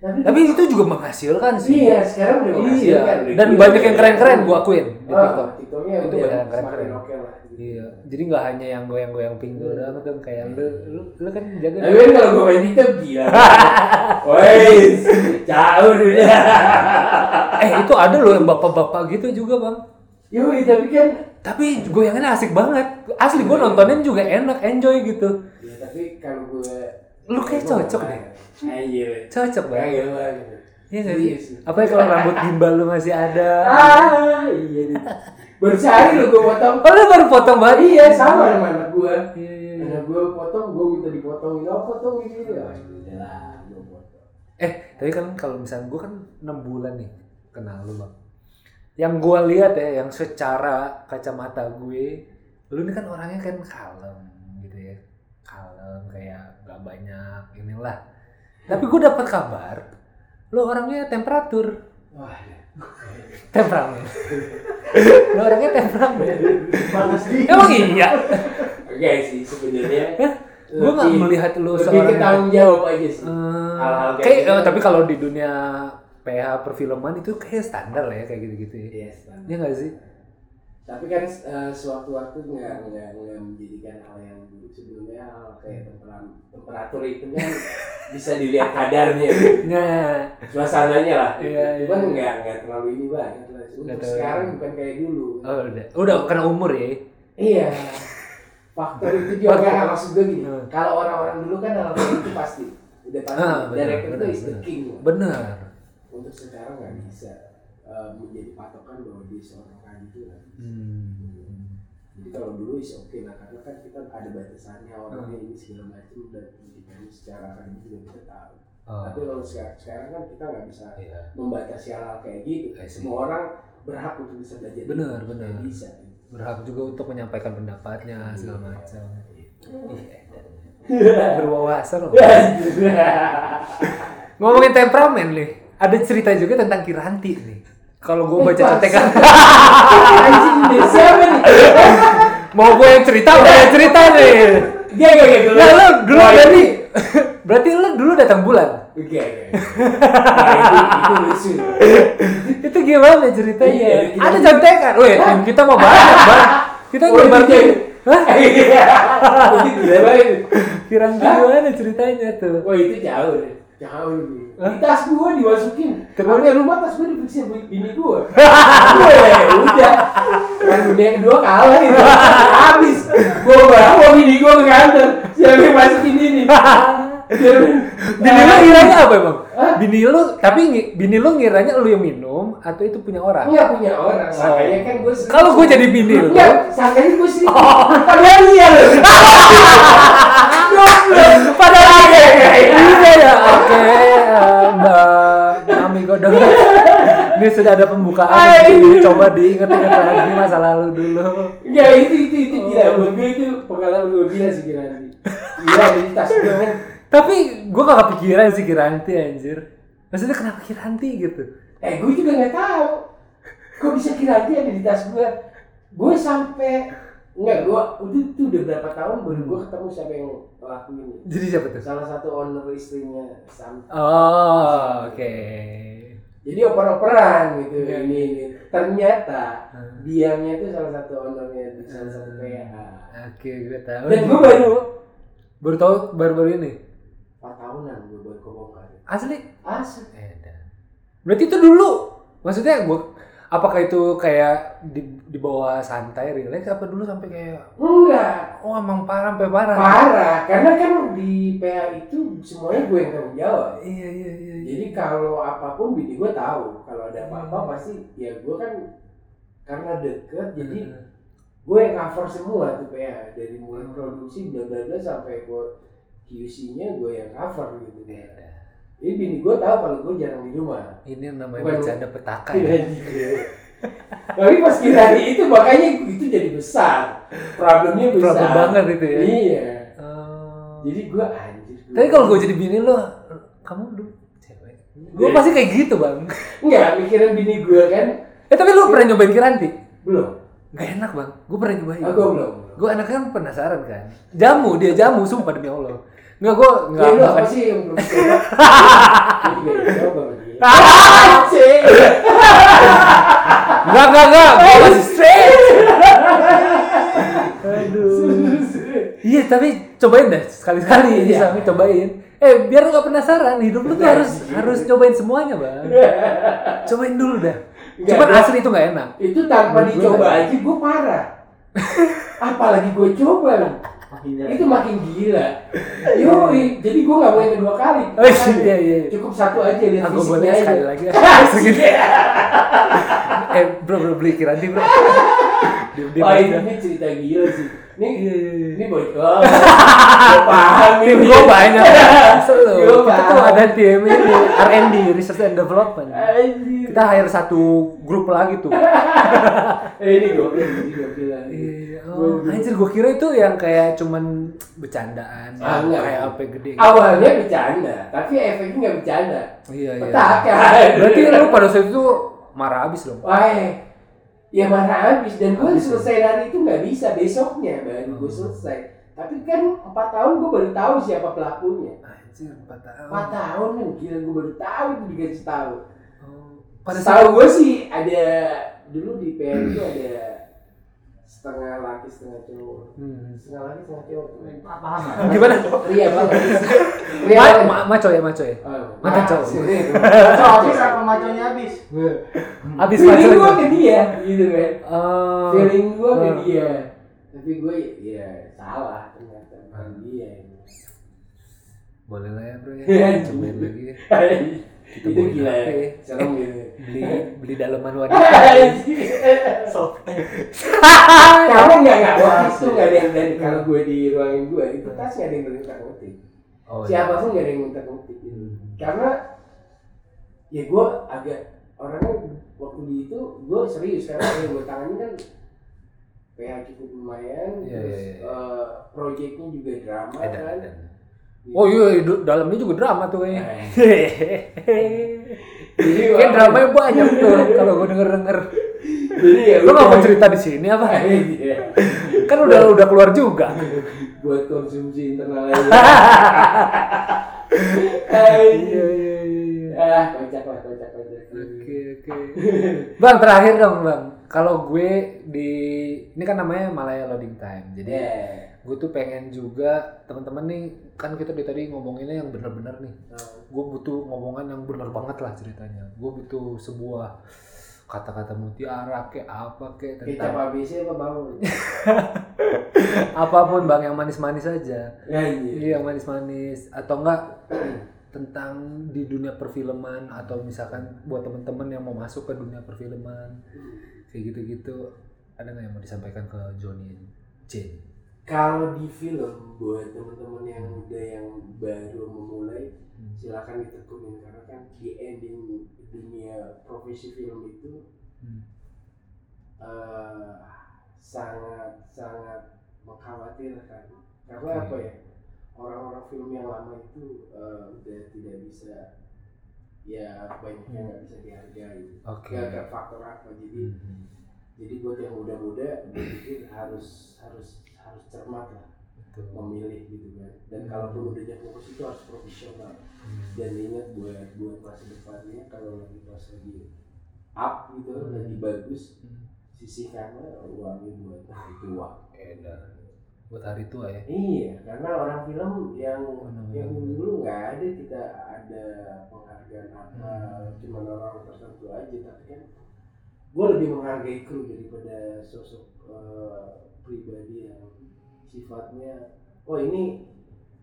A: Tapi itu juga menghasilkan sih.
D: Iya, sekarang udah
A: Iya.
D: menghasilkan, udah
A: Dan
D: gila.
A: banyak yang keren-keren gue akuin di
D: Ah,
A: TikTok.
D: TikToknya
A: Itu
D: udah
A: banyak yang
D: semakin
A: keren-keren.
D: oke lah. gitu.
A: Iya. Jadi nggak hanya yang goyang-goyang pinggul
D: Iya.
A: doang tuh kayak lu, lu, lu kan jaga.
D: Tapi kan kalau gue main TikTok gila. Woi, jauh dunia.
A: Eh itu ada loh yang bapak-bapak gitu juga bang.
D: Yoi, tapi kan
A: Tapi goyangannya asik banget. Asli gue nontonin juga enak, enjoy gitu.
D: Ya tapi kalau gue
A: Lu kayak
D: Gua
A: cocok
D: nggak
A: deh.
D: main. Ah, iya, Anjir.
A: Cocok banget.
D: Kayak gue gitu.
A: Iya nggak
D: Serius.
A: sih? Apa kalau rambut gimbal lu masih ada?
D: Ah, iya nih. Baru sehari lu gue potong.
A: Oh lu baru potong banget?
D: Iya, sama sama anak gue.
A: Iya, iya, iya.
D: Anak gue potong, gue minta dipotongin. Oh, potong ini. Ya, udahlah, gue potong.
A: Eh, tapi kan kalau misalnya gue kan 6 bulan nih kenal lu bang. Yang gue lihat ya, yang secara kacamata gue, lu ini kan orangnya kan kalem gitu ya, kalem kayak gak banyak inilah. Tapi gue dapat kabar, lu orangnya temperatur,
D: Wah,
A: temperamen. lu orangnya temperamen.
B: panas di
A: Emang iya?
D: oke sih sebenarnya.
A: Gue gak
D: lebih-
A: melihat lu
D: Lebih ke
A: seorang
D: tanggung jawab aja sih.
A: Hmm,
D: Hal-hal kayak
A: kayak,
D: gitu.
A: eh, tapi kalau di dunia PH perfilman itu kayak standar lah ya kayak gitu-gitu ya.
D: Iya, standar.
A: Iya nggak sih?
D: tapi kan eh, sewaktu-waktu nggak nggak nggak menjadikan hal yang buruk sebelumnya hal
A: Hmm.
D: kayak temperam- temperatur itu kan bisa dilihat kadarnya
A: Nah,
D: suasananya lah
A: Iya, iya.
D: cuman nggak nggak terlalu ini banget lah
A: Nggak
D: untuk
A: terlalu.
D: sekarang bukan kayak dulu
A: oh, udah, udah karena umur ya.
D: iya faktor itu juga
A: Faktor.
D: nggak maksud gue gini
A: Hmm.
D: kalau orang-orang dulu kan hal itu pasti udah pasti
A: Ah, benar,
D: director itu
A: benar,
D: is the
A: benar.
D: king
A: Bener.
D: untuk sekarang nggak bisa eh, menjadi patokan bahwa dia seorang kali itu nggak bisa. Jadi kalau dulu is oke lah karena kan kita ada batasannya orangnya ini segala macam dan pendidikannya secara kan juga kita tahu.
A: Oh,
D: Tapi kalau sekarang, sekarang kan kita nggak bisa
A: iya.
D: membatasi hal-hal kayak gitu.
A: I see.
D: Semua orang berhak untuk bisa belajar.
A: Iya Benar,
D: Nggak
A: benar.
D: Bisa.
A: Berhak juga untuk menyampaikan pendapatnya segala macam.
D: Iya.
A: Berwawasan loh. Ngomongin temperamen nih, ada cerita juga tentang Kiranti nih. Kalau gue baca
D: Bangsa.
A: ATK,
D: Anjing Indonesia apa nih?
A: mau gue yang cerita, mau yang cerita nih.
D: Gak gak gak dulu.
A: Nah, lo dulu
D: Wah,
A: berarti,
D: ini-
A: berarti lo dulu datang bulan.
D: Gak gak. gak. Nah, itu- Itu lucu.
A: itu gimana ceritanya?
D: Iya, kita-
A: ada contekan. Wih, tim Iya. kita mau banget, Bang. Kita
D: iya. Oh,
A: nyebar
D: itu
A: tim.
D: dia.
A: Hah?
D: Iya. Itu gila banget.
A: Kirang
D: Hah?
A: gimana ceritanya tuh?
D: Wah itu jauh deh. Jauh nih.
A: Hah?
D: Di tas gua dimasukin.
A: Terus?
D: Sampai rumah tas gua diperiksa bu- bini gua. Weh, udah. Kan udah yang kedua kalah itu. Habis. Gua bawa bini gua ke kantor. Siapa yang masukin ini?
A: Bini lu ngiranya apa, Bang?
D: Hah?
A: Bini lu, tapi ngi- bini lu ngiranya lu yang minum atau itu punya orang?
D: Enggak punya orang. Makanya kan gua
A: Oh.
D: sering-
A: Kalau gua jadi bini lu. Oh.
D: Enggak, sangkanya gua sih. Padahal iya loh. Goblok.
A: Padahal ada.
D: iya.
A: Iya ya, oke. eh, Mbak Mami Godong. Ini sudah ada pembukaan.
D: Hai.
A: Jadi Coba diingat-ingat lagi masa lalu dulu.
D: Enggak itu itu itu gila buat gue itu pengalaman gue gila sih gila ini. Gila di tas gue kan.
A: Tapi gue gak kepikiran sih Kiranti anjir. Maksudnya kenapa Kiranti gitu?
D: Eh gue juga nggak tahu. Kok bisa kira dia ada di tas gue? Gue sampai enggak gue itu itu udah berapa tahun baru gue ketemu siapa yang lakuin ini.
A: Jadi siapa tuh?
D: Salah satu owner istrinya Sam.
A: Oh, oke.
D: jadi oper-operan gitu
A: Iya.
D: ini ini ternyata
A: Hmm.
D: diamnya itu salah satu ownernya di salah satu PA
A: Oke, gue tahu.
D: dan gue baru
A: baru tahu baru-baru ini.
D: 4 tahunan gue baru kebongkar
A: Asli.
D: asli
A: Edan. Berarti itu dulu. Maksudnya gua apakah itu kayak di, dibawa santai, relax apa dulu sampai kayak
D: enggak
A: oh emang parah sampai parah.
D: parah karena kan di PA itu semuanya gue yang tanggung jawab
A: Iya iya iya. iya.
D: Jadi kalau apapun bini gue tahu, kalau ada
A: Hmm.
D: apa-apa pasti ya gue kan karena deket, jadi gue yang cover semua tuh PA dari mulai
A: Hmm.
D: produksi bla bla bla sampai gue QC-nya gue yang cover gitu ya.
A: Edan.
D: Jadi bini gue tahu kalau gue jarang di rumah.
A: Ini yang namanya
D: Bukan.
A: bercanda petaka ya.
D: Iya, Tapi pas kita di itu makanya itu jadi besar, problemnya besar.
A: Problem banget itu ya.
D: Iya.
A: Oh.
D: Jadi gue anjir.
A: Tapi kalau gue jadi bini lo, kamu dulu cewek. Gue
D: Iya.
A: pasti kayak gitu bang.
D: enggak mikirin bini gue kan
A: Eh tapi lo pernah nyobain Kiranti?
D: belum.
A: Gak enak bang. Gue pernah nyobain.
D: Aku belum.
A: Gue anaknya kan penasaran kan. Jamu dia jamu sumpah demi Allah. Enggak gue
D: Ya
A: enggak
D: lu
A: makan.
D: apa sih yang belum coba? Lu juga belum coba lagi. Ah,
A: Enggak enggak enggak.
D: Eh,
A: Gue masih straight. Aduh. Iya tapi cobain deh sekali-sekali ini
D: Iya.
A: Sami cobain. Eh biar lu gak penasaran hidup lu tuh
D: Iya,
A: harus
D: iya.
A: harus cobain semuanya bang. Cobain dulu dah.
D: Enggak,
A: Cuman
D: gua-
A: asli itu nggak enak.
D: Itu
A: Menurut
D: tanpa
A: gua
D: dicoba
A: kan.
D: aja gue parah. Apalagi gue coba lu.
A: Iya.
D: Itu makin gila. Yoi, jadi gue gak mau yang kedua kali.
A: Oh, iya, iya, iya.
D: Cukup satu aja lihat
A: Aku
D: fisiknya
A: boleh
D: aja. Iya.
A: sekali lagi.
D: Asik.
A: Segini. Eh bro bro beli Kiranti bro. Diam diam
D: Wah,
A: aja.
D: ini cerita gila sih. Ini
A: Iya, iya, iya.
D: ini bocor. Gue paham
A: Tim
D: ini.
A: gue banyak. Selalu.
D: Gua
A: Kita tuh
D: paham.
A: ada tim ini R&D Research and Development.
D: Anjir.
A: Kita hire satu grup lagi tuh.
D: Eh, ini gokil, ini gokil.
A: Iya,
D: Gua-
A: oh, anjir gue kira itu yang kayak cuman bercandaan,
D: Ah,
A: yang
D: enggak.
A: kayak apa gede.
D: Awalnya bercanda, tapi efeknya nggak bercanda.
A: Iya iya.
D: Petaka.
A: Berarti lu pada saat itu marah abis dong.
D: Wah, ya marah habis dan gue
A: ya?
D: selesai hari itu nggak bisa besoknya baru gue
A: Hmm.
D: selesai. Tapi kan empat tahun gue baru tahu siapa
A: Hmm.
D: pelakunya.
A: Anjir 4 tahun.
D: Empat tahun kan gila gue baru tahu itu dikasih tahu.
A: Oh. Pada
D: Pada
A: saat
D: tahu gue sih ada dulu di PN itu ada setengah laki setengah cowok.
A: Hmm.
D: Setengah laki setengah cowok.
B: Paham lah.
A: Gimana?
D: Ria banget. Ria
A: Ma,
D: banget.
A: ma, maco ya maco ya.
D: Oh,
A: Makan cowok.
D: sini.
B: Maco habis apa maconya habis?
A: Abis ya? maco.
D: Feeling gue
A: itu.
D: ke dia gitu kan.
A: Oh.
D: feeling gue ke
A: Hmm.
D: dia tapi gue ya salah ternyata bukan dia ini.
A: Boleh lah ya bro ya.
D: Iya.
A: Cobain lagi ya.
D: itu
A: bawain
D: gila
A: HP.
D: ya serem gitu
A: Beli beli daleman wanita.
D: Hahaha.
A: Hahaha.
D: Karena nggak nggak waktu itu nggak ada yang dari kalau gue di ruangan gue itu tas nggak ada yang minta ngotik.
A: Oh, iya.
D: Siapapun nggak ada yang minta ngotik. Karena ya gue agak orangnya waktu di itu gue serius karena kalau gue tangannya kan PH cukup lumayan,
A: Iya,
D: terus
A: iya, iya.
D: eh, proyeknya juga drama
A: Edan,
D: kan.
A: edan. Oh iya, du- dalamnya juga drama tuh ya.
D: Eh, Jadi
A: Kan dramanya banyak tuh kalau gue denger denger.
D: Jadi ya
A: Lo nggak mau
D: udah.
A: cerita di sini apa?
D: Iya.
A: Kan udah udah keluar juga.
D: Buat konsumsi internal aja. Hai.
A: iya iya.
D: Ah, kocak lah, kocak, kocak.
A: Oke oke. Bang terakhir dong bang. Kalau gue di ini kan namanya Malaya Loading Time. Jadi
D: Ya.
A: gue tuh pengen juga teman-teman nih kan kita dari tadi ngomonginnya yang bener-bener nih gue butuh ngomongan yang bener banget lah ceritanya gue butuh sebuah kata-kata mutiara kayak apa kayak tentang
D: Kecap ABC apa Nah, bangun?
A: apapun bang yang manis-manis aja
D: Ya iya.
A: iya yang manis-manis atau enggak tentang di dunia perfilman atau misalkan buat temen-temen yang mau masuk ke dunia perfilman kayak gitu-gitu ada nggak yang mau disampaikan ke Johnny Jane
D: Kalau di film buat teman-teman yang udah yang baru memulai silakan ditekunin karena kan di ending dunia profesi film itu
A: Hmm.
D: eh, sangat sangat mengkhawatirkan
A: Oke.
D: karena apa ya orang-orang film yang lama itu eh, udah tidak bisa ya banyak yang nggak bisa dihargai
A: Hmm. oke
D: gak ada faktor apa jadi
A: Hmm.
D: jadi buat yang muda-muda gue pikir harus harus harus cermat lah memilih gitu kan dan
A: Hmm.
D: kalaupun udah jadi fokus itu harus profesional dan ingat buat buat masa depannya kalau lagi pas lagi up gitu lagi bagus sisihkanlah ya, uangnya buat hari tua enak
A: buat hari tua ya
D: iya karena orang film yang
A: Benar-benar.
D: yang dulu nggak ada kita ada penghargaan apa
A: Hmm.
D: cuma orang tertentu aja tapi kan gue lebih menghargai kru daripada sosok eh, pribadi yang sifatnya oh ini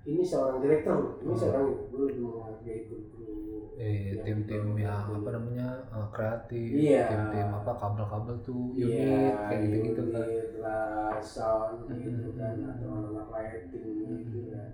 D: ini seorang direktur loh, ini
A: Hmm.
D: seorang gue lebih menghargai kru kru
A: eh tim-tim yang apa namanya eh, kreatif
D: Iya.
A: tim-tim apa kabel-kabel tuh
D: Iya,
A: unit kayak gitu gitu kan
D: unit lah, sound gitu kan,
A: Mhm.
D: atau anak lighting gitu kan,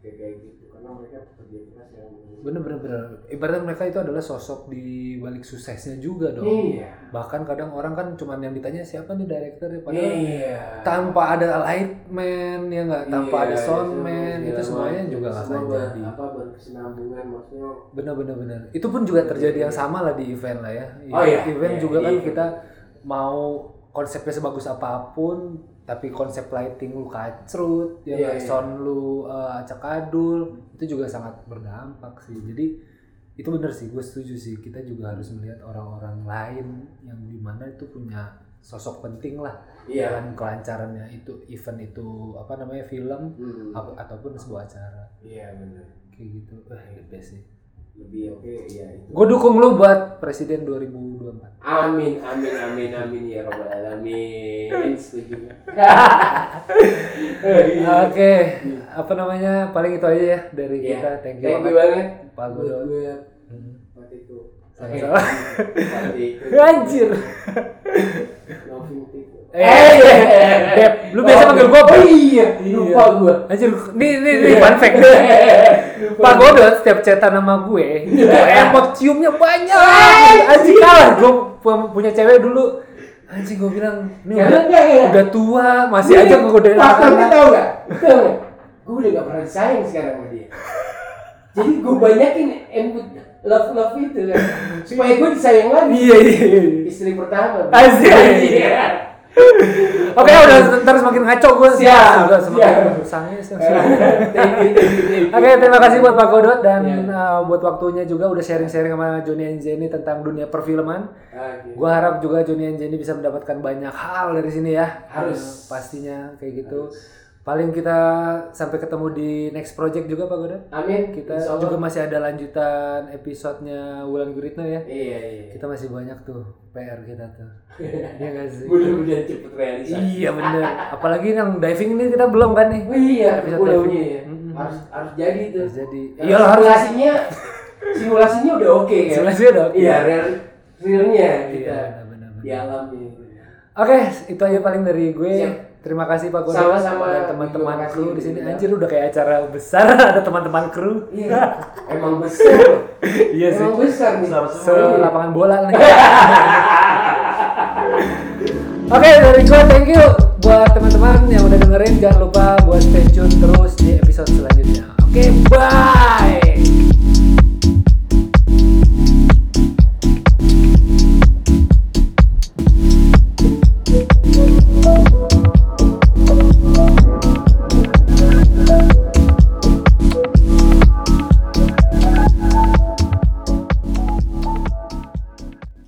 D: kayak kayak gitu. Karena mereka pekerja keras yang
A: bener bener bener ibaratnya mereka itu adalah sosok di balik suksesnya juga dong
D: Iya,
A: bahkan kadang orang kan cuman yang ditanya siapa nih direkturnya padahal
D: iya.
A: tanpa ada lightman ya nggak tanpa
D: Iya,
A: ada
D: iya,
A: soundman
D: iya,
A: itu
D: iya,
A: semuanya
D: iya.
A: juga nggak
D: Semua
A: akan
D: ber-
A: jadi
D: Apa berkesinambungan maksudnya?
A: bener bener bener itu pun juga terjadi yang sama lah di event lah ya
D: Iya, Oh, iya.
A: event
D: Iya,
A: juga kan
D: iya.
A: kita mau konsepnya sebagus apapun tapi konsep lighting lu kacrut ya
D: Iya,
A: nggak?
D: iya.
A: sound lu eh, acak adul itu juga sangat berdampak sih jadi itu bener sih gue setuju sih kita juga harus melihat orang-orang lain yang dimana itu punya sosok penting lah
D: Iya.
A: dalam kelancarannya itu event itu apa namanya film
D: Hmm,
A: ap- ataupun sebuah acara
D: Iya benar.
A: kayak gitu wah the best sih
D: Lebih oke, iya itu.
A: Gue dukung lu buat presiden 2024.
D: Amin, amin, amin, amin ya robbal alamin. Setuju.
A: Oke, apa namanya? Paling itu aja ya dari
D: Iya.
A: kita. Thank you,
D: Thank you
A: banget,
D: banget.
A: Pak
D: Buat
A: Godot.
D: gue
A: Hmm.
D: Patiku. Eh,
A: Sama-sama.
D: Patiku.
A: Anjir.
D: Loving Tiku.
A: Eh, Dep, lu biasa panggil gua Pak.
D: iya. Oh iya, lupa Iya. gue.
A: Anjir, nih nih nih fun fact. Pak Godot setiap cetan sama gue,
D: Iya.
A: emot ciumnya banyak. Anjir kalah, gue punya cewek dulu. Anjir gue bilang,
D: Eh,
A: ini udah, udah tua, masih
D: Iya.
A: aja ngegodain
D: Faktornya
A: anak-anak.
D: tau gak? Tau gak? Gue udah gak pernah sayang sekarang sama dia Jadi gue banyakin embut love-love itu kan Supaya gue disayang lagi
A: Iya, iya, iya.
D: Istri pertama
A: Asik.
D: Iya.
A: Oke, udah ntar semakin ngaco gue.
D: Siap,
A: Udah semakin
D: siap. Eh.
A: sangis.
D: Thank you, thank you, thank you.
A: Oke, terima kasih buat Pak Godot dan
D: Iya.
A: uh, buat waktunya juga udah sharing-sharing sama Joni and Jenny tentang dunia perfilman.
D: Oke.
A: Gua harap juga Joni and Jenny bisa mendapatkan banyak hal dari sini ya.
D: Harus.
A: Eh, pastinya kayak gitu. Paling kita sampai ketemu di next project juga Pak Godot.
D: Amin
A: Kita
D: Insya Allah.
A: juga masih ada lanjutan episodenya Wulan Guritno ya.
D: Iya iya
A: Kita masih banyak tuh PR kita tuh. Iya nggak sih?
D: Mudah-mudahan cepet realisasi
A: Iya bener. Apalagi yang diving ini kita belum kan nih.
D: Oh iya,
A: Episode
D: pulau-nya
A: diving.
D: ya.
A: Mm-mm.
D: Harus harus jadi tuh.
A: Harus jadi.
D: Karena
A: Iya harus.
D: simulasinya simulasinya udah oke kan.
A: Simulasinya udah oke.
D: Iya, real realnya kita
A: Iya, benar, benar.
D: di alam ini.
A: Oke, itu aja paling dari gue.
D: Siap.
A: Terima kasih Pak Guru
D: Sama-sama.
A: dan teman-teman
D: Terima kasih.
A: kru di sini. Anjir udah kayak acara besar ada teman-teman kru.
D: Iya, emang besar.
A: Iya sih.
D: Emang besar nih.
A: Se
D: Iya.
A: lapangan bola nih. Oke, dari gue thank you buat teman-teman yang udah dengerin. Jangan lupa buat stay tune terus